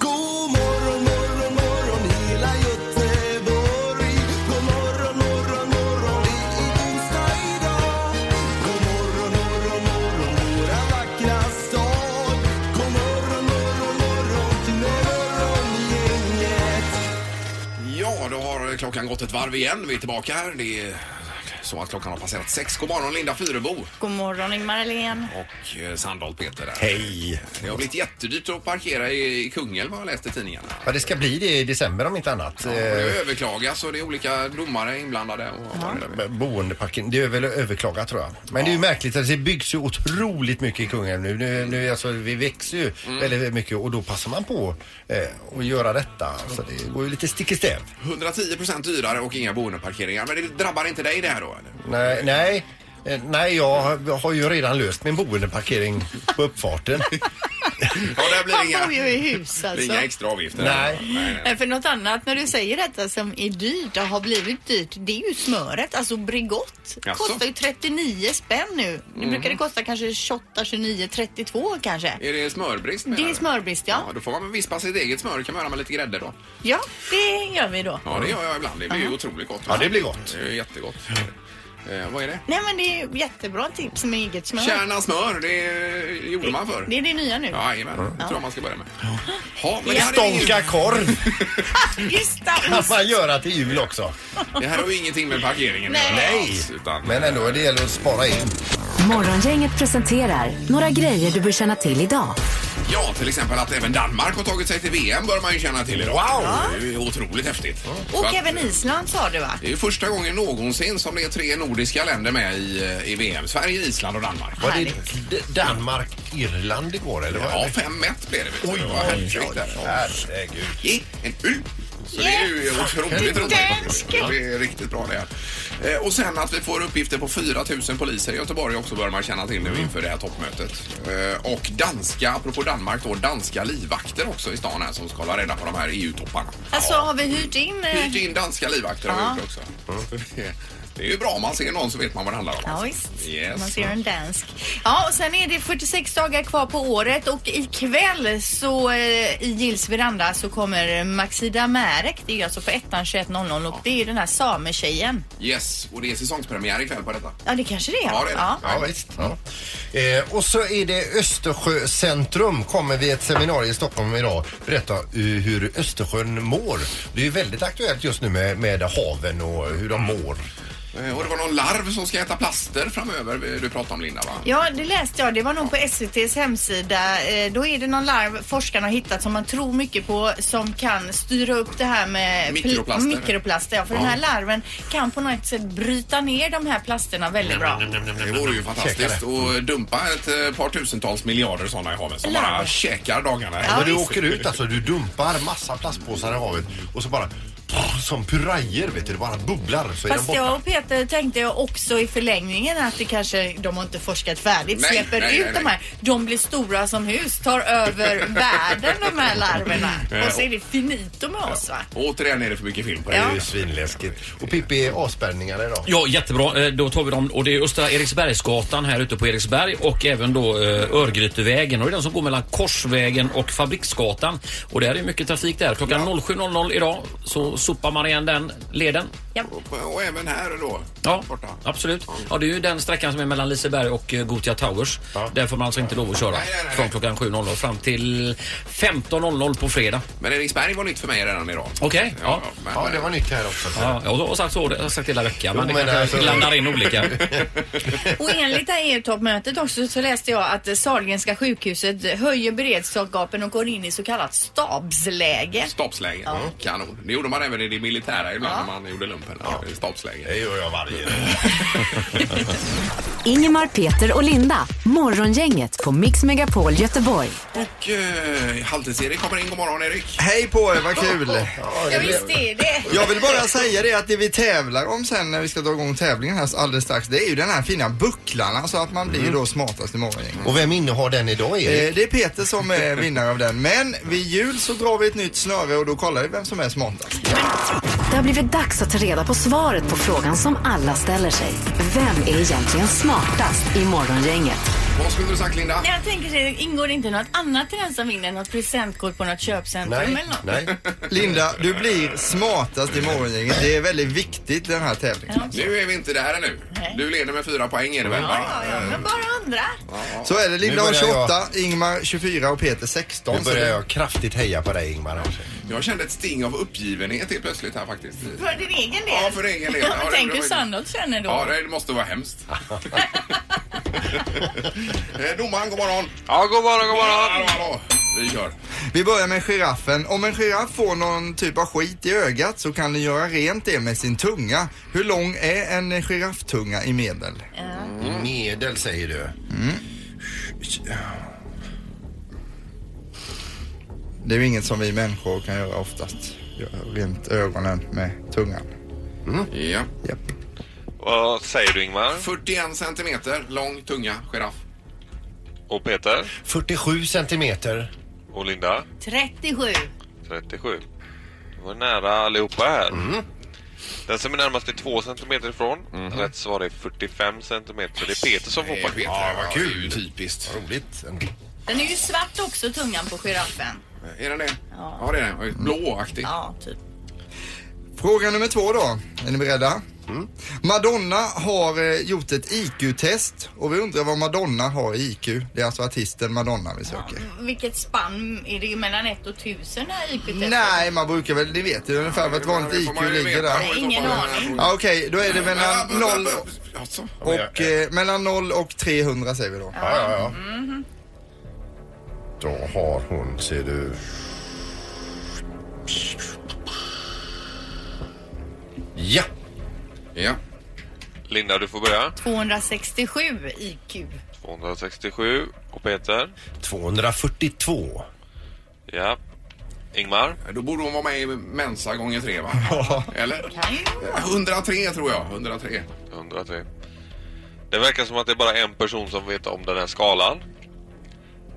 God morgon, morgon, morgon hela Göteborg. God morgon, morgon, morgon det är onsdag idag. God morgon, morgon, morgon våra vackra stad. God morgon, morgon, morgon till morgongänget. Ja, då har klockan gått ett varv igen. Vi är tillbaka här. Det är så att klockan har passerat sex. God morgon Linda Fyrebo God morgon Ingmar Ahlén. och eh, Sandholt Peter. Där. Hej! Det har blivit jättedyrt att parkera i i Kungälv har jag läst i tidningarna. Ja, det ska bli det i december om inte annat. Och Eh, Det överklagas och det är olika domare inblandade. Och vad det där är. b- Boendeparken, det är väl överklagat tror jag. Men det är ju märkligt att det byggs ju otroligt mycket i Kungälv nu. nu, nu alltså, vi växer ju Mm. väldigt mycket och då passar man på eh, att göra detta. Så det går ju lite stick i stäv. 110 procent dyrare och inga boendeparkeringar. Men det drabbar inte dig det här då? Eller? Nej, nej, eh, nej jag, har- jag har ju redan löst min boendeparkering på uppfarten. Ja, där blir Han det bor ju inga, i hus det är alltså. inga extra avgifter. Nej. Nej, För något annat när du säger detta som är dyrt och har blivit dyrt, det är ju smöret. Alltså Bregott Jaså? Mhm. kostar ju 39 spänn nu. Nu brukar det kosta kanske 28, 29, 32 kanske. Är det smörbrist? menar Det är du? smörbrist ja. Ja, då får man vispa sitt eget smör. kan man göra med lite grädde då. Ja, det gör vi då. Ja, det gör jag ibland. Det blir ju otroligt gott. Ja, det blir gott. Det är ju jättegott. Eh, vad är det? Nej men det är jättebra tips med eget smör. Kärna smör, det gjorde man förr. Det är det nya nu. Ja, Jajamän, det tror jag man ska börja med. Ja, men det, här är ju, Stånka korv Just kan det. man göra till jul också. det här har ju ingenting med parkeringen Nej. alls, utan, Men ändå, det gäller att spara in. Morgongänget presenterar några grejer du bör känna till idag. Ja, till exempel att även Danmark har tagit sig till VM bör man ju känna till idag. Wow! Det är ju otroligt häftigt. Så att, eh, Och även Island sa du va? Det är ju första gången någonsin som det är tre nordiska länder med i, eh, i VM. Sverige, Island och Danmark. Var det Härligt. D- Danmark, Irland igår eller? vad är Ja, det? 5-1 blev det. vet du. Oj, Det var oj, häftigt oj. där. Herregud. i en U. Så det är ju otroligt roligt. faktiskt. Danska. Det är riktigt bra det här. Eh, Och sen att vi får uppgifter på 4 000 poliser i Göteborg också bör man känna till nu inför det här toppmötet. Eh, Och danska, apropå Danmark då, danska livvakter också i stan här som ska hålla reda på de här E EU-topparna. Alltså har vi hyrt in? eh, Hyrt in danska livvakter har Ja. vi gjort också. Det är ju bra om man ser någon så vet man vad det handlar om. Ja, alltså. visst. Yes. Man ser en dansk. Ja, och sen är det 46 dagar kvar på året och ikväll så eh, i Gills veranda så kommer Maxida Märek. Det är ju alltså på ettan 21.00 och det är ju den här sametjejen. Yes, och det är säsongspremiär ikväll på detta. Ja, det kanske det är. Ja, det är det. Ja, visst. Ja. Eh, och så är det Östersjöcentrum kommer vid ett seminarium i Stockholm idag berätta eh, hur Östersjön mår. Det är ju väldigt aktuellt just nu med, med haven och hur de mår. Eh, Och det var någon larv som ska äta plaster framöver eh, du pratade om Linda va? Ja, det läste jag. Det var nog på SVTs hemsida. Eh, då är det någon larv forskarna har hittat som man tror mycket på som kan styra upp det här med pl- Mikroplaster. mikroplaster ja, för den här larven kan på något sätt bryta ner de här plasterna väldigt bra. Det vore ju fantastiskt att dumpa ett eh, par tusentals miljarder sådana i havet som Larver. bara käkar dagarna. När du visst. åker ut alltså, du dumpar massa plastpåsar i havet och så bara pff, som purajer vet du, det bara bubblar så är de Fast jag borta. och Peter tänkte jag också i förlängningen att det kanske, de har inte forskat färdigt, Nej, släpper nej, ut nej, de nej. här. De blir stora som hus, tar över världen de här larverna. Ja. Och så är det finito med oss va? Återigen är det för mycket film på det. Det är ju svinläskigt. Och Pippi är avspärrningar idag. Ja, jättebra. Eh, Då tar vi dem. Och det är Östra Eriksbergsgatan här ute på Eriksberg och även då eh, Örgrytevägen. Och det är den som går mellan Korsvägen och Fabriksgatan. Och där är mycket trafik där. Klockan 07.00 idag så sopar man igen den leden. Ja. Och, och även här då. Ja, Borta. absolut. Ja, det är ju den sträckan som är mellan Liseberg och eh, Gothia Towers. Där får man alltså inte lov att köra nej, nej, nej. från klockan 7.00 fram till 15.00 på fredag. Men Eriksberg var nytt för mig redan idag. Okej, Ja, ja. ja, men, Ja, det var nytt här också. Ja, jag har sagt så jag har sagt hela veckan, men Jo, det men kanske alltså- blandar in olika. Och enligt det här EU-toppmötet också så läste jag att Sahlgrenska sjukhuset höjer beredskapen och går in i så kallat stabsläge. Stabsläge. Kanon. Det gjorde man även i militära ibland när man gjorde lumpen. Ja. Stabsläger. Det gör jag varje dag. Ingemar, Peter och Linda. Morgongänget på Mix Megapol Göteborg. Och eh, Halvtids-Erik kommer in. God morgon Erik. Hej på er, vad kul! Ja, visst är det. Jag vill bara säga det att det vi tävlar om sen när vi ska dra igång tävlingen här alldeles strax, det är ju den här fina bucklan, alltså att man blir då smartast i morgongänget. Och vem innehar den idag Erik? Eh, Det är Peter som är vinnare av den, men vid jul så drar vi ett nytt snöre och då kollar vi vem som är smartast. Det har blivit dags att ta reda på svaret på frågan som alla ställer sig. Vem är egentligen smartast i morgongänget? Vad skulle du sagt Linda? Jag tänker så här, ingår det inte något annat till den som vinner? Något presentkort på något köpcentrum Nej, eller något? nej. Linda, du blir smartast i morgongänget. Det är väldigt viktigt den här tävlingen. Nu är vi inte där ännu. Nej. Du leder med fyra poäng är det väl? Ja, va? ja, men bara undra. Så är det Linda Nu har börjar 28, Ingmar 24 och Peter 16. Nu så börjar det- jag kraftigt heja på dig Ingmar. här. Jag kände ett sting av uppgivenhet helt plötsligt här faktiskt. För din egen del? Ja, för egen del. Ja, det Tänk beror hur ju- Sandholt känner då. Ja, det måste vara hemskt. Eh, Domaren, god morgon. Ja, god morgon, god Hallå, hallå. Vi kör. Vi börjar med giraffen. Om en giraff får någon typ av skit i ögat så kan den göra rent det med sin tunga. Hur lång är en girafftunga i medel? I Mm. medel säger du. Det är ju inget som vi människor kan göra oftast. Göra rent ögonen med tungan. Ja. Japp. Vad säger du Ingmar? 41 centimeter lång tunga giraff. Och Peter? 47 centimeter. Och Linda? 37. 37. Det var nära allihopa här. Den som är närmast är 2 cm ifrån. Rätt svar är 45 cm. Så det är Peter som Eh, får poäng. Ja, vad kul. Typiskt. Roligt. ändå. Den är ju svart också, tungan på giraffen. Eh, Är den det? Ja, det är den. Blåaktig. Ja, typ. Fråga nummer två då. Är ni beredda? Madonna har eh, gjort ett IQ-test och vi undrar vad Madonna har i IQ. Det är alltså artisten Madonna vi söker. Vilket spann är det mellan 1 och 1000 här IQ-testet? Nej, man brukar väl, ni vet ju ungefär vad ett vanligt Det får man IQ ju ligger veta där. då i så fall. Ingen aning. Ja, Okej, då är det mellan Ah, 0 Alltså, och, eh, mellan 0 och 300 säger vi då. Ja, ja, ja. Mhm. Då har hon, ser du... Ja! Ja. Linda, du får börja. 267 IQ. 267. Och Peter? 242. Ja. Ingmar? Eh, Då borde hon vara med i Mensa gånger tre, va? Eller? Kan ju vara. 103 tror jag. 103. 103. Det verkar som att det är bara en person som vet om den här skalan.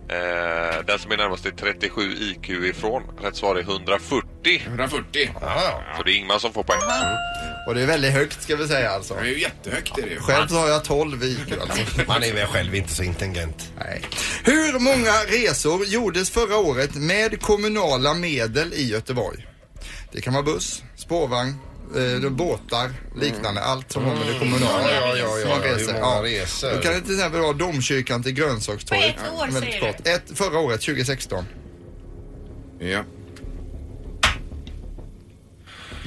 Eh, den som är närmast är 37 IQ ifrån. Rätt svar är 140. 140. Så det är Ingmar som får poäng. Och det är väldigt högt ska vi säga alltså. Det är ju jättehögt. Är det ju. Själv så har jag 12 i IQ alltså. Man är väl själv inte så intelligent. Nej. Hur många resor gjordes förra året med kommunala medel i Göteborg? Det kan vara buss, spårvagn, eh, båtar, liknande. Mm. Allt som har med det kommunala Ja, ja, ja, ja, Man ja. reser. Hur många resor? Då kan Äh. det till exempel vara domkyrkan till Grönsakstorget. På ett år, Väldigt säger du? kort. Ett, förra året, 2016. Ja.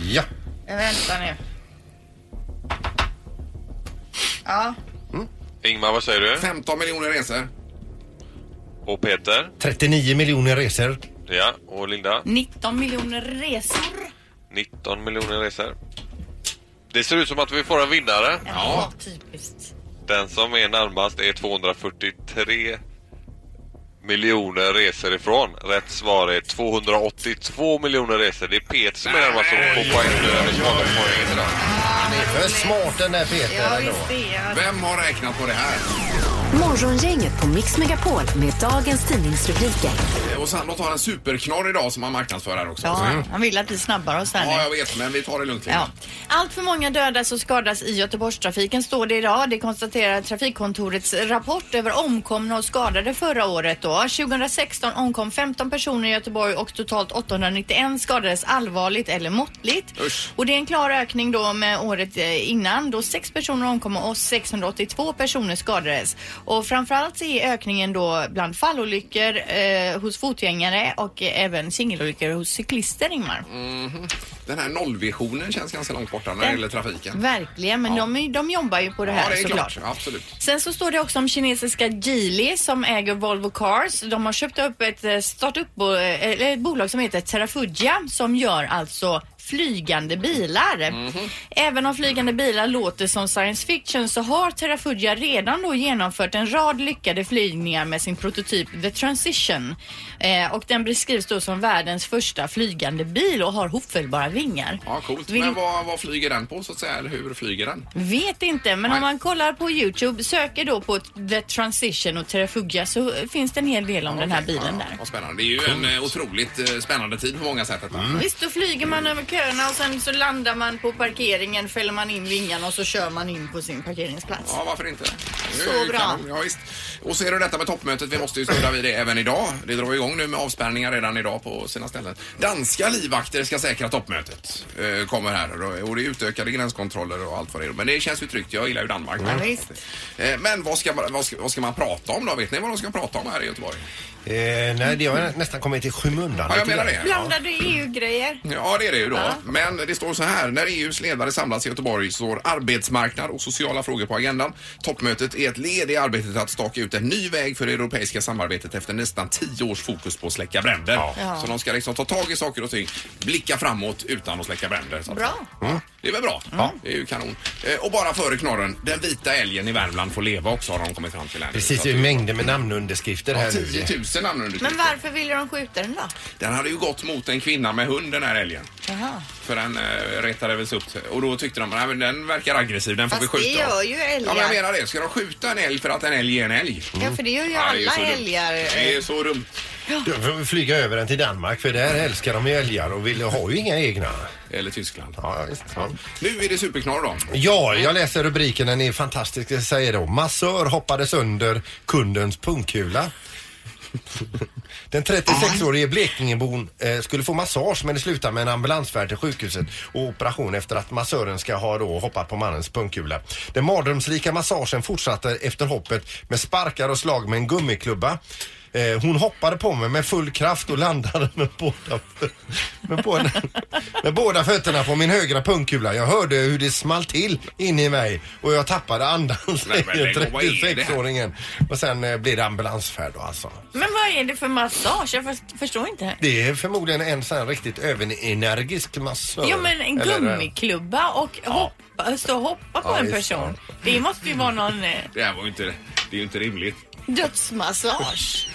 Ja! Vänta nu. Ja, Ingmar, vad säger du? 15 miljoner resor. Och Peter? 39 miljoner resor. Ja. Och Linda? 19 miljoner resor. 19 miljoner resor. Det ser ut som att vi får en vinnare. Ja, typiskt. Den som är närmast är 243 miljoner resor ifrån. Rätt svar är 282 miljoner resor. Det är Peter som är närmast som får poäng eh, nu. Eller som har poäng idag. Han är för smart den där Peter Ja, ändå. visst det är jag. Vem har räknat på det här? Morgongänget på Mix Megapol med dagens tidningsrubriker. Eh, Och Sandholt har en superknorr idag som han marknadsför här också. Så- Ja, han vill att vi snabbar oss här nu. Mm. ja, jag vet, men vi tar det lugnt. Linda. Ja. Allt för många dödas och skadas i Göteborgstrafiken står det idag. Det konstaterar Trafikkontorets rapport över omkomna och skadade förra året. Då. 2016 omkom 15 personer i Göteborg och totalt 891 skadades allvarligt eller måttligt. Usch. Och det är en klar ökning då med året eh, innan då 6 personer omkom och 682 personer skadades. Och framförallt så är ökningen då bland fallolyckor eh, hos fotgängare och eh, även singelolyckor hos cyklister, Ingmar. Den här nollvisionen känns ganska långt borta när det Den- gäller trafiken. Verkligen, men de, de jobbar ju på det här Ja, det är såklart. klart. Absolut. Sen så står det också om kinesiska Geely som äger Volvo Cars. De har köpt upp ett eh, startup, bo- eh, eller ett bolag som heter Terrafugia som gör alltså flygande bilar. Mhm. Även om flygande bilar låter som science fiction så har Terrafugia redan då genomfört en rad lyckade flygningar med sin prototyp The Transition. Eh, och den beskrivs då som världens första flygande bil och har hopfällbara vingar. Ja, coolt. Vill- Men vad, vad flyger den på så att säga? Eller hur flyger den? Vet inte, men om man kollar på Youtube, söker då på The Transition och Terrafugia så finns det en hel del om den här bilen där. Vad spännande. Det är ju en eh, otroligt eh, spännande tid på många sätt. detta. Visst, då flyger man över köerna och sen så landar man på parkeringen, fäller man in vingarna och så kör man in på sin parkeringsplats. Ja, varför inte? Det är Så ju bra. kanon. Ja, visst. Och så är det detta med toppmötet. Vi måste ju snurra vid det även idag. Det drar igång nu med avspärrningar redan idag på sina ställen. Danska livvakter ska säkra toppmötet. Eh, kommer här. Och det är utökade gränskontroller och allt vad det är. Men det känns ju tryggt. Jag gillar ju Danmark. Ja, visst. Eh, Men vad ska, man- vad, ska, vad ska man prata om då? Vet ni vad de ska prata om här i Göteborg? Eh, nej, det har nästan kommit i skymundan. Ja, jag menar det. Blandade EU-grejer. Ja, det är det ju då. Men det står så här. När EUs ledare samlas i Göteborg står arbetsmarknad och sociala frågor på agendan. Toppmötet är ett led i arbetet att staka ut en ny väg för det europeiska samarbetet efter nästan tio års fokus på att släcka bränder. Ja. Så de ska liksom ta tag i saker och ting, blicka framåt utan att släcka bränder. Så att Bra. säga. Mm. Det är väl bra? Det är ju kanon. Eh, Och bara före knorren, den vita älgen i Värmland får leva också har de kommit fram till här. nu. Precis, Så det att- är mängder med namnunderskrifter Ja, typ, här nu. 10 000 namnunderskrifter. Men varför ville de skjuta den då? Den hade ju gått mot en kvinna med hund den här älgen. Jaha. För den eh, retade väl sig upp. Och då tyckte de att den verkar aggressiv, den får Fast vi det skjuta. gör ju älgar. Ja, men jag menar det. Ska de skjuta en älg för att en älg är en älg? Ja, för det gör ju Ja, det är alla så dumt. älgar. Det är så dumt. Då får vi flyga över den till Danmark för där älskar de ju älgar och vill, har ju inga egna. Eller Tyskland. Ja, visst. Ja. Nu är det superknorr då. Ja, jag läser rubriken, den är fantastisk. Det säger då massör hoppades under kundens pungkula. Den 36-årige Blekingebon eh, skulle få massage men det slutar med en ambulansfärd till sjukhuset och operation efter att massören ska ha då hoppat på mannens pungkula. Den mardrömslika massagen fortsatte efter hoppet med sparkar och slag med en gummiklubba. Eh, hon hoppade på mig med full kraft och landade med båda, med båda, med båda fötterna på min högra pungkula. Jag hörde hur det small till in i mig och jag tappade andan, Nej, men säger lägg av, vad är det här? 36-åringen. Och sen eh, blir det ambulansfärd då alltså. Men vad är det för massage? Jag först- förstår inte. Det är förmodligen en sån här riktigt överenergisk massör. Jo men en Eller, eh, gummiklubba och hoppa, stå och hoppa på Ja, en visst, person. Det måste ju vara någon eh, Det här var ju inte, det är ju inte rimligt. dödsmassage.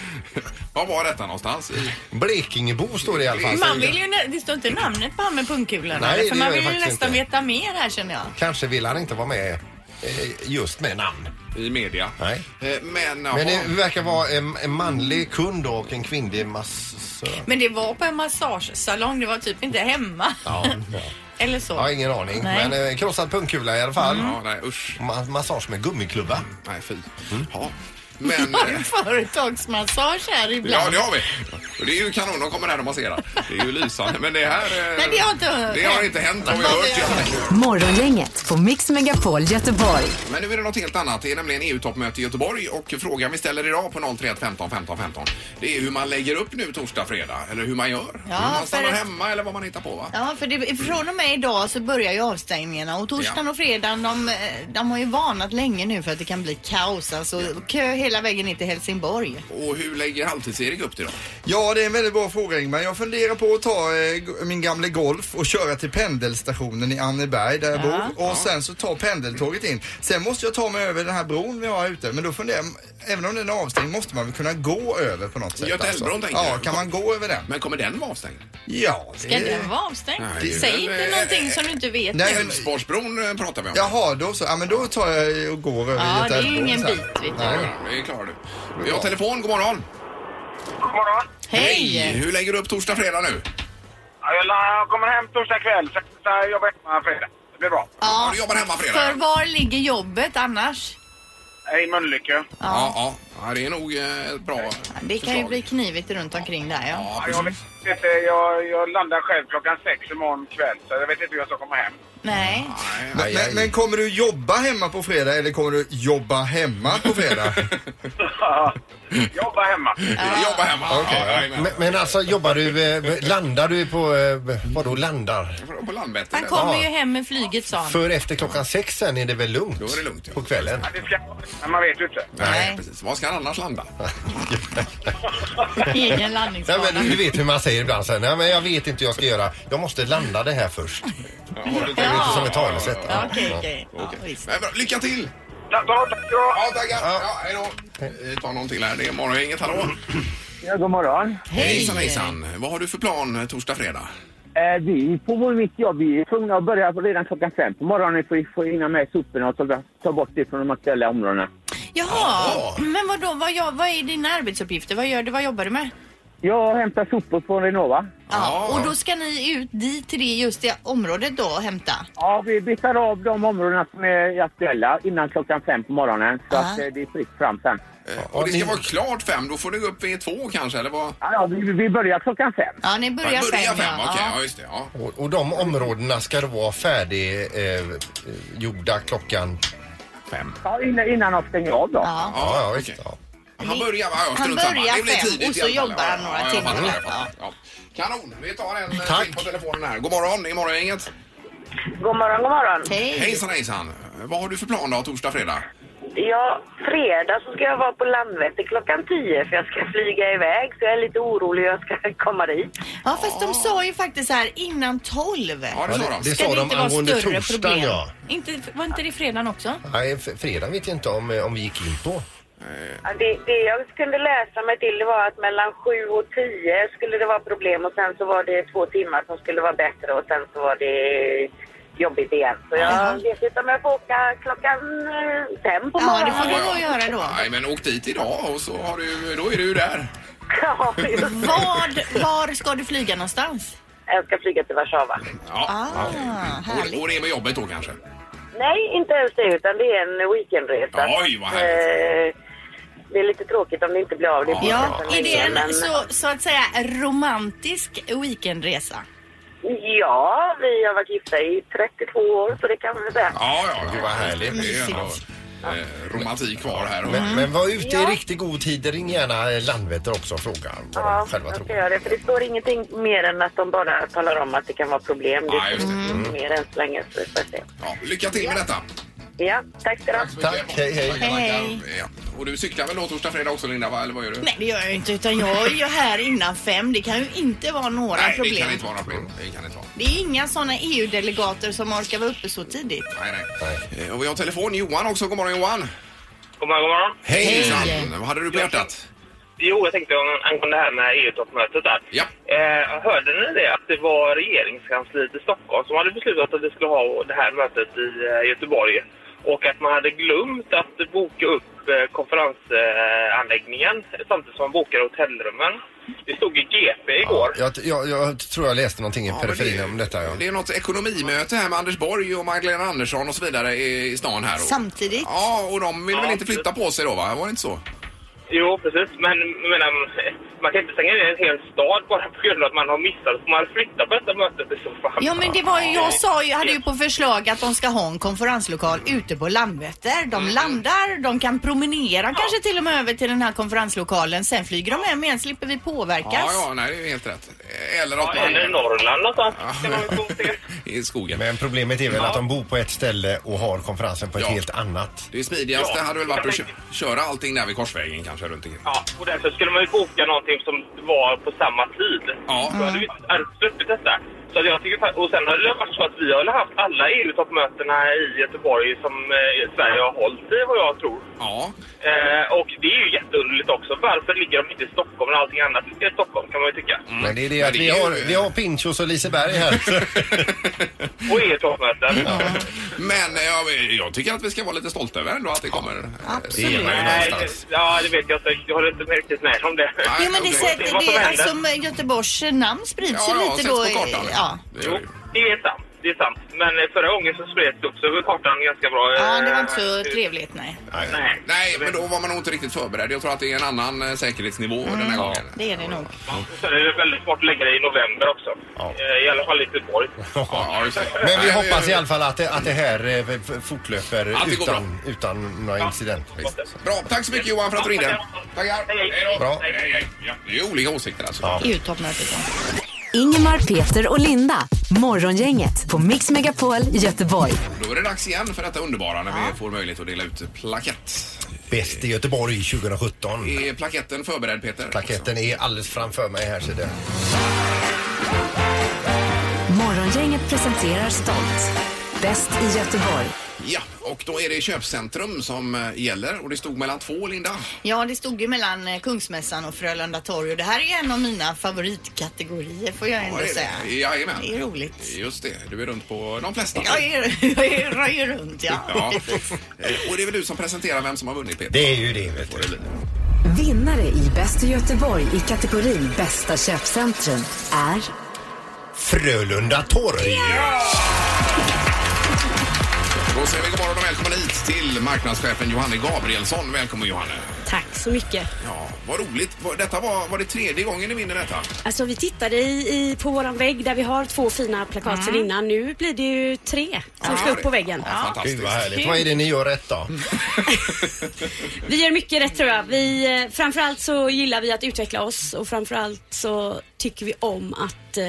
Var var detta någonstans? I- Blekingebo står det i alla fall. Man vill ju, nä- det står inte namnet på han med pungkulan Nej, eller? det För gör man det vill ju faktiskt nästan inte. veta mer här känner jag. Kanske vill han inte vara med eh, just med namn. I media? Nej. Eh, Men, jaha. Men det verkar vara en, en manlig kund och en kvinnlig massör. Men det var på en massagesalong, det var typ inte hemma. Ja, ja. Eller så. Jag har ingen aning. Nej. Men eh, krossad pungkula i alla fall. Ja, nej usch. Ma- massage med gummiklubba. Nej fy. Mm. Ja. Men... Har eh, du företagsmassage här ibland? Ja, det har vi. Och Det är ju kanon, de kommer här och masserar. Det är ju lysande. Men det här... eh, Nej, det har inte- Det har inte hänt, har vi Vad hört. vi- Ja. Morgongänget på Mix Megapol Göteborg. Men nu är det något helt annat. Det är nämligen EU-toppmöte i Göteborg och frågan vi ställer idag på 031 15 15 15 det är hur man lägger upp nu torsdag, fredag eller hur man gör. Ja, Om man stannar för- hemma eller vad man hittar på va? Ja, för det, från och med idag så börjar ju avstängningarna och torsdagen Ja. och fredagen de, eh, de har ju varnat länge nu för att det kan bli kaos. Alltså kö hela vägen ner till Helsingborg. Och hur lägger Halvtids-Erik upp det då? Ja, det är en väldigt bra fråga Ingmar. Jag funderar på att ta eh, g- min gamla Golf och köra till pendelstationen i Anneberg där jag bor och sen så ta pendeltåget in. Sen måste jag ta mig över den här bron vi har här ute men då funderar jag, även om den är avstängd måste man väl kunna gå över på något sätt. alltså? Götaälvbron, tänker Ja, jag. kan man gå över den? Men kommer den vara avstängd? Ja, Ska den vara avstängd? Nej, det- Säg inte eh, någonting som du inte vet Nej, nu. men- Älvsborgsbron eh, pratar vi om. Jaha, då så. Ja, men då tar jag och går över Ja, det är ju Götaälvbron ingen sen. bit vet du. Ja, Det klarar du. Vi har telefon, god morgon. Hej! Hur lägger du upp torsdag, fredag nu? Jag kommer hem torsdag kväll, sen jobbar jag hemma fredag. Det blir bra. Ja, du jobbar hemma fredag. För var ligger jobbet annars? Hej Mölnlycke. Ja, ja. ja, det är nog eh, ett bra Det kan ju förslag. bli knivigt runt omkring där ja. Ja, Ja, Jag, precis. vet inte, jag, jag landar själv klockan sex imorgon kväll, så jag vet inte hur jag ska komma hem. Nej. Men, Nej, men, men kommer du jobba hemma på fredag eller kommer du jobba hemma på fredag? Jobba hemma. Jobba hemma. Men, men alltså jobbar du, eh, landar du på, eh, vadå landar? På Landvetter. Han kommer ju hem med flyget sa han. För efter klockan sex sen är det väl lugnt? Då är det lugnt, På kvällen? Men man vet ju inte. Nej, precis. Var ska han annars landa? Egen Nej, landningsbana. men du vet hur man säger ibland så här, nej men jag vet inte hur jag ska göra. Jag måste landa det här först. Det är lite som ett talesätt. Ja, okej, okej. Men bra, Lycka till! Tack, tack. Ja, tackar. Ja, hej då. Vi tar någon till här. Det är Morgongänget. Hallå! Ja, god morgon. Hejsan, hejsan. Vad har du för plan eh, torsdag, fredag? Eh, vi på vår mitt jobb, vi är tvungna att börja redan klockan fem på morgonen för att få hinna med soporna och ta, ta bort det från de aktuella områdena. Jaha, men vadå, vad, gör- vad är dina arbetsuppgifter? Vad gör du? Vad jobbar du med? Jag hämtar sopor från Renova. Ja. Och då ska ni ut dit till det, just det området då och hämta? Ja, vi betar av de områdena som är aktuella innan klockan fem på morgonen så att eh, det är fritt fram sen. Eh, Och det ska vara klart fem. Då får du gå upp vid två kanske, eller vad? Ja, vi, vi börjar klockan fem. Ja, ni börjar fem, Börjar fem, ja. okej, ja, just det. Ja. Och, och de områdena ska då vara färdiggjorda klockan? Fem. Ja, innan, innan de stänger av då. Ja, ja, visst. Ja. Han börjar, va? Ja, Han strunt samma. börjar Det blir fem, tidigt och i så alla fall. jobbar han några ja, jag timmar. fattar, jag fattar. Ja. Kanon! Vi tar en eh, till på telefonen här. God morgon, det är Morgongänget. God morgon, god morgon. Hej. Hejsan, hejsan. Eh, Vad har du för plan då, torsdag, fredag? Ja, fredag så ska jag vara på Landvetter klockan 10 för jag ska flyga iväg så jag är lite orolig hur jag ska komma dit. Ja, fast de sa ju faktiskt så här innan tolv. Ja, det sa de. Det sa Ska det de inte vara angående större torsdagen, problem? ja. Inte, var inte det fredagen också? Nej, f- fredag vet jag inte om, eh, om vi gick in på. Ja, Det, det jag kunde läsa mig till det var att mellan 7 och 10 skulle det vara problem och sen så var det två timmar som skulle vara bättre och sen så var det jobbigt igen. Så jag vet inte om jag får åka klockan eh, fem på morgonen. göra då. Nej, men åk dit idag och så har du, då är du där. Vad, var ska du flyga någonstans? Jag ska flyga till Warszawa. Ja. Ah, och, och det är med jobbet då kanske? Nej, inte ens det, utan det är en weekendresa. Eh, Oj, vad härligt. Det är lite tråkigt om det inte blir av. Det blir Ja, nästan är det länge, en så, så att säga romantisk weekendresa? Ja, vi har varit gifta i 32 år, så det kan man väl säga. Ja, ja, det var härligt. Det är Mysigt. ändå, eh, romantik kvar här. Men, men var ute i Mm. Ja. riktigt god tid. Ring gärna eh, Landvetter också och fråga vad Ja, de själva jag tror. ska göra det. För det står ingenting mer än att de bara talar om att det kan vara problem. Det Ja, just står det. ingenting mer än så länge. Så vi får se. Ja, lycka till med detta. Ja, tack ska du ha. Tack, hej, hej. Tackar, Hej. tackar. Ja. Och du cyklar väl då torsdag, fredag också Linda? Va? Eller vad gör du? Nej, det gör jag ju inte utan jag är ju här innan fem. Det kan ju inte vara några Nej, det problem. kan inte vara några problem. Det kan inte vara. Det är inga sådana EU-delegater som orkar vara uppe så tidigt. Nej, nej. Eh, Och vi har telefon. Johan också. God morgon Johan. God morgon, god morgon. Hej Hejsan. Vad hade du på hjärtat? Jo, jag tänkte om- angående det här med EU-toppmötet där. Ja. Eh, hörde ni det att det var regeringskansliet i Stockholm som hade beslutat att vi skulle ha det här mötet i eh, Göteborg och att man hade glömt att boka upp eh, konferensanläggningen samtidigt som man bokade hotellrummen. Det stod i GP igår. Jag, jag, jag tror jag läste någonting i periferin om detta. Ja. Det är något ekonomimöte här med Anders Borg och Magdalena Andersson och så vidare i, i stan här. Samtidigt? Ja, och de vill väl inte flytta på sig då va? Var det inte så? Jo, precis. Men jag menar, man kan inte stänga ner en hel stad bara på grund av att man har missat. Får man flytta på detta mötet i så fall? Ja men det var ju, jag sa ju, hade ju på förslag att de ska ha en konferenslokal ute på Landvetter. De Mm. landar, de kan promenera kanske till och med över till den här konferenslokalen. Sen flyger de hem igen, slipper vi påverkas. Ja, ja, nej, det är helt rätt. Eller att Ja, eller i Norrland någonstans. I skogen. Men problemet är väl att de bor på ett ställe och har konferensen på ett helt annat. Det smidigaste Ja, hade väl varit jag att kö- köra allting där vid Korsvägen kanske runt omkring. Ja, och därför skulle man ju boka någonting som var på samma tid. Ja. Då hade vi hade sluppit detta. Så att jag tycker, fa- och sen hade det varit så att vi har haft alla EU-toppmötena i Göteborg som eh, Sverige har hållit i, vad jag tror. Ja. Eh, och det är ju jätteunderligt också. Varför ligger de inte i Stockholm när allting annat ligger i Stockholm, kan man ju tycka. Mm. Mm. Men det är det att vi har, vi har Pinchos och Liseberg här. Och EU-toppmöten. Men eh, jag, jag tycker att vi ska vara lite stolta över ändå att det kommer. eh, Nej, senare någonstans. det- ja, det vet jag inte. Jag håller inte riktigt med om det. Jo men det sätter Vad som det, händer. alltså Göteborgs namn sprids Ja, ju ja, lite sätts då. på kartan. i- Ja. Jo, det är sant. det är sant. Men eh, förra gången så spreds det också över kartan ganska bra. Ja, det var Eh, inte så trevligt, nej. Nej. men då var man nog inte riktigt förberedd. Jag tror att det är en annan eh, säkerhetsnivå den Mm. här gången. Det är det nog. Sen är det väldigt svårt att lägga det i november också. Eh, I alla fall i Göteborg. Men vi hoppas i alla fall att det, att det här eh, f- f- fortlöper Att det går utan, utan några incidenter. Bra, tack så mycket Johan för att du ringde. Tackar. Hej då. Bra. Hej, hej, hej. Ja, det är olika åsikter alltså. EU-toppmötet. Ingemar, Peter och Linda. Morgongänget på Mix Megapol Göteborg. Då är det dags igen för detta underbara när vi får möjlighet att dela ut plakett. Bäst i Göteborg 2017. Är plaketten förberedd Peter? Plaketten är alldeles framför mig här. Så det. Morgongänget presenterar stolt. Bäst i Göteborg. Ja, och då är det köpcentrum som eh, gäller och det stod mellan två Linda. Ja, det stod ju mellan eh, Kungsmässan och Frölunda torg och det här är en av mina favoritkategorier får jag ändå är det? säga. Jajamän. Det är roligt. Just det, du är runt på de flesta. Jag, är, jag är, rör ju runt, ja. Ja. Eh, Och det är väl du som presenterar vem som har vunnit Peter? Det är ju det. Vet du. Vinnare i Bäst i Göteborg i kategorin Bästa köpcentrum är Frölunda torg. Då säger vi god morgon och välkommen hit till marknadschefen Johanne Gabrielsson. Välkommen Johanne. Tack så mycket. Ja, vad roligt. Var- Detta var, var det tredje gången ni vinner detta? Alltså vi tittade i, i, på våran vägg där vi har två fina plakat sedan innan. Nu blir det ju tre som ska upp på väggen. Gud vad härligt. Vad är det ni gör rätt då? Vi gör mycket rätt tror jag. Vi, eh, framförallt så gillar vi att utveckla oss och framförallt så tycker vi om att eh,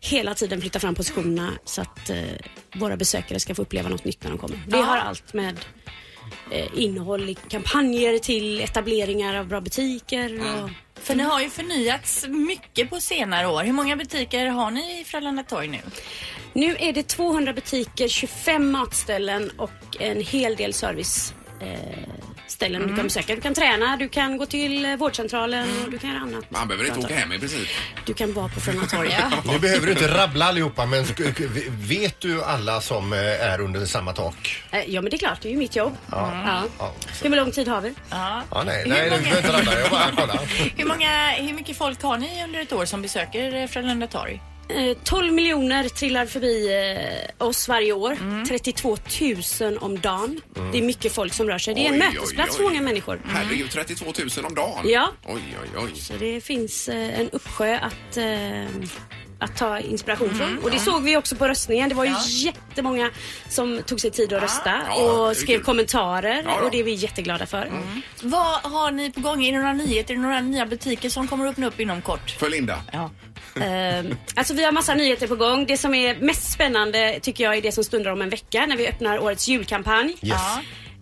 hela tiden flytta fram positionerna så att eh, våra besökare ska få uppleva något nytt när de kommer. Vi Ja. har allt med eh, innehåll i kampanjer till etableringar av bra butiker Mm. och För ni har ju förnyats mycket på senare år. Hur många butiker har ni i Frölunda torg nu? Nu är det 200 butiker, 25 matställen och en hel del serviceställen du kan besöka. Du kan träna, du kan gå till eh, vårdcentralen och du kan göra annat. Man behöver inte åka hem i princip. Du kan vara på Frölunda torg. Nu behöver du inte rabbla allihopa men sk- sk- vet du alla som eh, är under samma tak? Eh, Ja men det är klart, det är ju mitt jobb. Ja. Ja. Hur lång tid har vi? Ja, nej, Hur nej, du många- behöver inte rabbla. Jag bara kollar. Hur, många, hur mycket folk har ni under ett år som besöker eh, Frölunda torg? Eh, 12 miljoner trillar förbi eh, oss varje år. 32 000 om dagen. Mm. Det är mycket folk som rör sig. Det är en Oj, oj, mötesplats för oj. många människor. Mm. Herregud, 32 000 om dagen. Ja. Oj, oj, oj. Så det finns eh, en uppsjö att, eh, att ta inspiration Mm. från. Och det Ja. såg vi också på röstningen. Det var ju Ja. jättemånga som tog sig tid att rösta Ja, det är och skrev kul. kommentarer. Ja, ja. Och det är vi jätteglada för. Vad har ni på gång? Är det några nyheter? Är det några nya butiker som kommer att öppna upp inom kort? För Linda. Ja. Ehm, alltså vi har massa nyheter på gång. Det som är mest spännande tycker jag är det som stundar om en vecka när vi öppnar årets julkampanj. Yes.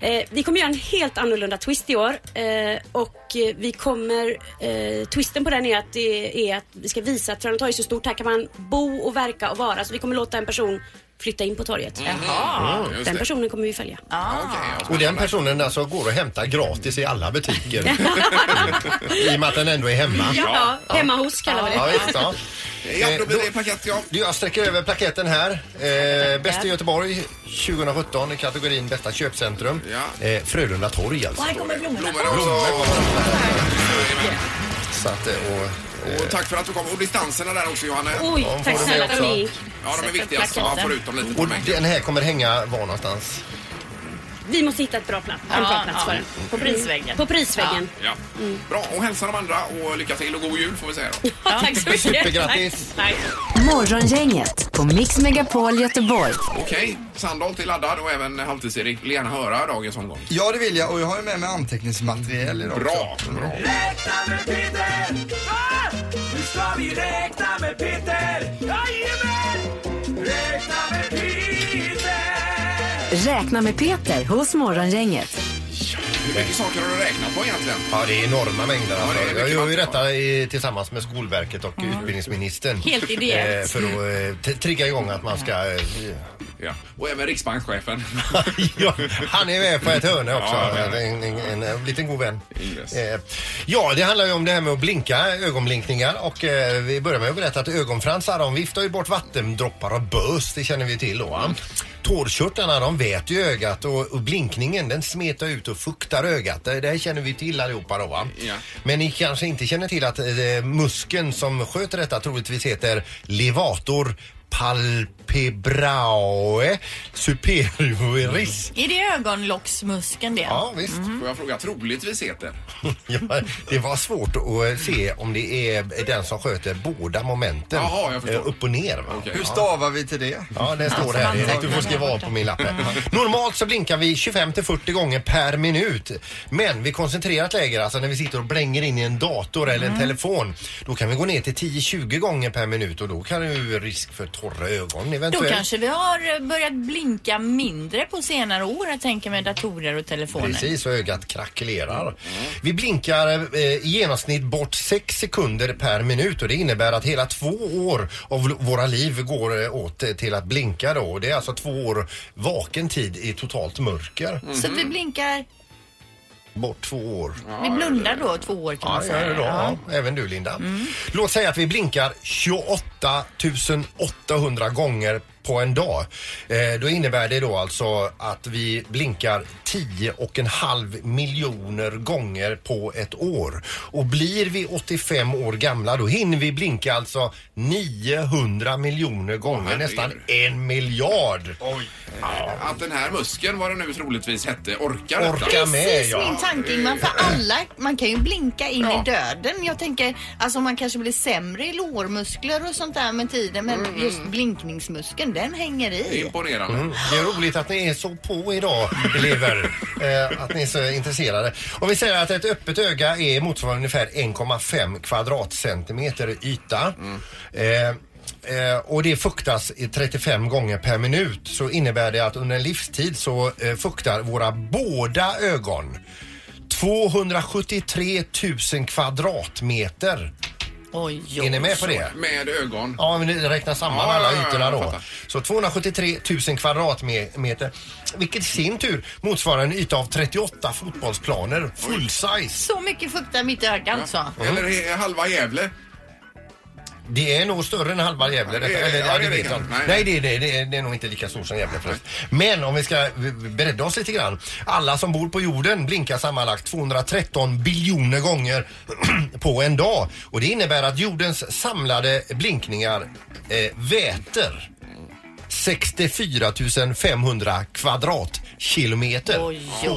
Eh, vi kommer göra en helt annorlunda twist i år eh, och eh, vi kommer, eh, twisten på den är att, det är att vi ska visa att Frölunda torg är så stort, här kan man bo och verka och vara. Så vi kommer låta en person flytta in på torget. Jaha. Mm, just den det. personen kommer vi följa. Och den personen alltså går och hämtar gratis i alla butiker. I och med att den ändå är hemma. Ja, hemma hos kallar vi det. Ja, visst, ja. Ja, då blir det plakett, ja. Du, Jag sträcker över plaketten här. Eh, Bäst i Göteborg 2017 i kategorin Bästa köpcentrum. Eh, Frölunda torg alltså. Och här kommer blommorna. Så att, eh, och, Och tack för att du kom. Och distanserna där också Johanne. Oj, Ja, tack får du snälla med för också? mig. Ja, de är Sätt viktiga. upp så Man plaketten. får ut dem lite på och mig. den här kommer hänga var någonstans? Vi måste hitta ett bra plats, en bra plats för den. På prisväggen. På prisväggen. Ja. Mm. Bra, och hälsa de andra och lycka till och god jul får vi säga då. tack så mycket. Supergrattis. Morgongänget på Mix Megapol Göteborg. Okej, Sandholt är laddad och även Halvtids-Erik vill gärna höra dagens omgång. Ja, det vill jag och jag har ju med mig anteckningsmaterial idag Bra, också. bra. Räkna med Peter! Ah! Nu ska vi räkna med Peter! Jajamän! Räkna med Peter! Räkna med Peter hos Morgongänget. Hur mycket saker har du räknat på egentligen? Ja, det är enorma mängder. Alltså. det är mycket jag gör ju detta i, tillsammans med Skolverket och utbildningsministern. Helt ideellt. Eh, för att eh, t- trigga igång att man ska... Eh, Ja. Och även riksbankschefen. ja, han är med på ett hörn också. Ja, ja, ja. En, en, en, en liten god vän. Eh, ja, det handlar ju om det här med att blinka, ögonblinkningar. Och eh, vi börjar med att berätta att ögonfransar de viftar ju bort vattendroppar och bös. Det känner vi ju till då. va? Tårtkörtlarna de vet ju ögat och, och blinkningen den smetar ut och fuktar ögat. Det, det här känner vi till allihopa då. Va? Ja. Men ni kanske inte känner till att eh, muskeln som sköter detta troligtvis heter levator palpebrae superioris. Är det ögonlocksmuskeln det? Ja, visst. Får jag fråga, troligtvis heter? ja, det var svårt att eh, se om det är den som sköter båda momenten. Jaha, jag förstår. Alltså, Eh, Upp och ner. Va? Hur Ja. stavar vi till det? Ja, det står det här direkt. Du får skriva av på min lapp. här. Mm. Normalt så blinkar vi 25 till 40 gånger per minut. Men vid koncentrerat läge, alltså när vi sitter och blänger in i en dator eller Mm. en telefon, då kan vi gå ner till 10-20 gånger per minut och då kan det ju risk för torra ögon Då eventuellt. kanske vi har eh, börjat blinka mindre på senare år, jag tänker med datorer och telefoner. Precis, och ögat krackelerar. Vi blinkar eh, i genomsnitt bort 6 sekunder per minut och det innebär att hela två år av l- våra liv går eh, åt eh, till att blinka då. Och Det är alltså två år vaken tid i totalt mörker. Så att vi blinkar, Bort två år. vi blundar då två år kan Ja, man ja, säga. ja, ja. Även du Linda. Låt säga att vi blinkar 28 800 gånger på en dag. Eh, då innebär det då alltså att vi blinkar 10 och en halv miljoner gånger på ett år. Och blir vi 85 år gamla då hinner vi blinka alltså 900 miljoner gånger, nästan en miljard. Oj. Att den här muskeln, vad den nu troligtvis hette, orkar detta. Orkar med, Precis Eh, min tanke Ingmar, för alla, man kan ju blinka in i döden. Jag tänker, alltså man kanske blir sämre i lårmuskler och sånt där med tiden, men Mm. just blinkningsmuskeln, den hänger i. Imponerande. Det är roligt att ni är så på idag, elever. eh, att ni är så intresserade. Om vi säger att ett öppet öga är motsvarande ungefär 1,5 kvadratcentimeter yta. Eh, Eh, och det fuktas i 35 gånger per minut så innebär det att under en livstid så eh, fuktar våra båda ögon 273 000 kvadratmeter. Oj, är ni med på det? Med ögon. Ja, men det räknas samman Ja, alla ja, ja, ytorna jag då. fattar. Så 273 000 kvadratmeter, vilket i sin tur motsvarar en yta av 38 fotbollsplaner full size. Så mycket fuktar mitt öga alltså. Eller eh, halva Gävle. Det är nog större än halva Gävle. Ja, det är- Eller, ja, ja, det det är det vet jag kanske. inte. Nej, det är, det, det, är, det är nog inte lika stort som Gävle förresten. Men om vi ska v- v- bredda oss lite grann. Alla som bor på jorden blinkar sammanlagt 213 biljoner gånger på en dag. Och det innebär att jordens samlade blinkningar eh, väter 64 500 kvadratkilometer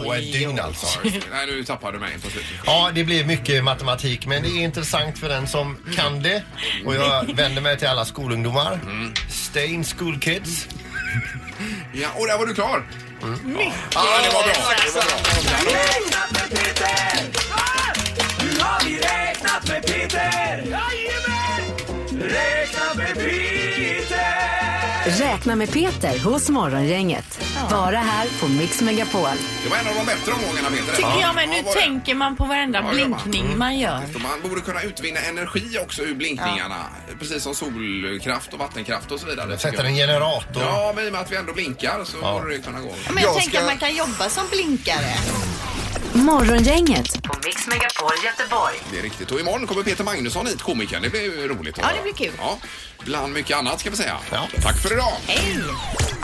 på ett dygn alltså. Nej, nu tappade du mig på slutet. Ja, det blir mycket matematik men det är intressant för den som kan det. Och jag vänder mig till alla skolungdomar. Stay in school kids. Ja, och där var du klar. Mm. Ja, det var bra. Det var bra. Nu har vi räknat med Peter! Jajamän! Räkna med Peter! Räkna med Peter hos Morgongänget. Bara här på Mix Megapol. Det var en av de bättre omgångarna, Peter. Tycker jag, men nu var det. tänker man på varenda Ja, Mm. det gör man. blinkning man gör. Så Man borde kunna utvinna energi också ur blinkningarna. Precis som solkraft och vattenkraft och så vidare. Sätter tycker en jag. generator. Ja, men i och med att vi ändå blinkar så borde det kunna gå. Ja, Men jag, tänker att man kan jobba som blinkare. Morgongänget. På Mix Megapol Göteborg. Det är riktigt. Och imorgon kommer Peter Magnusson hit, komikern. Det blir ju roligt. Ja, det blir kul. Ja, bland mycket annat ska vi säga. Tack för idag! Hej!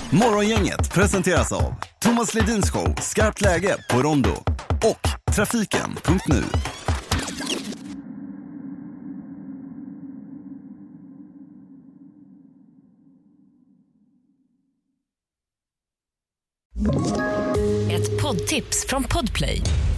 Morgongänget presenteras av Thomas Ledins show Skarpt läge på Rondo och Trafiken.nu. Ett poddtips från Podplay.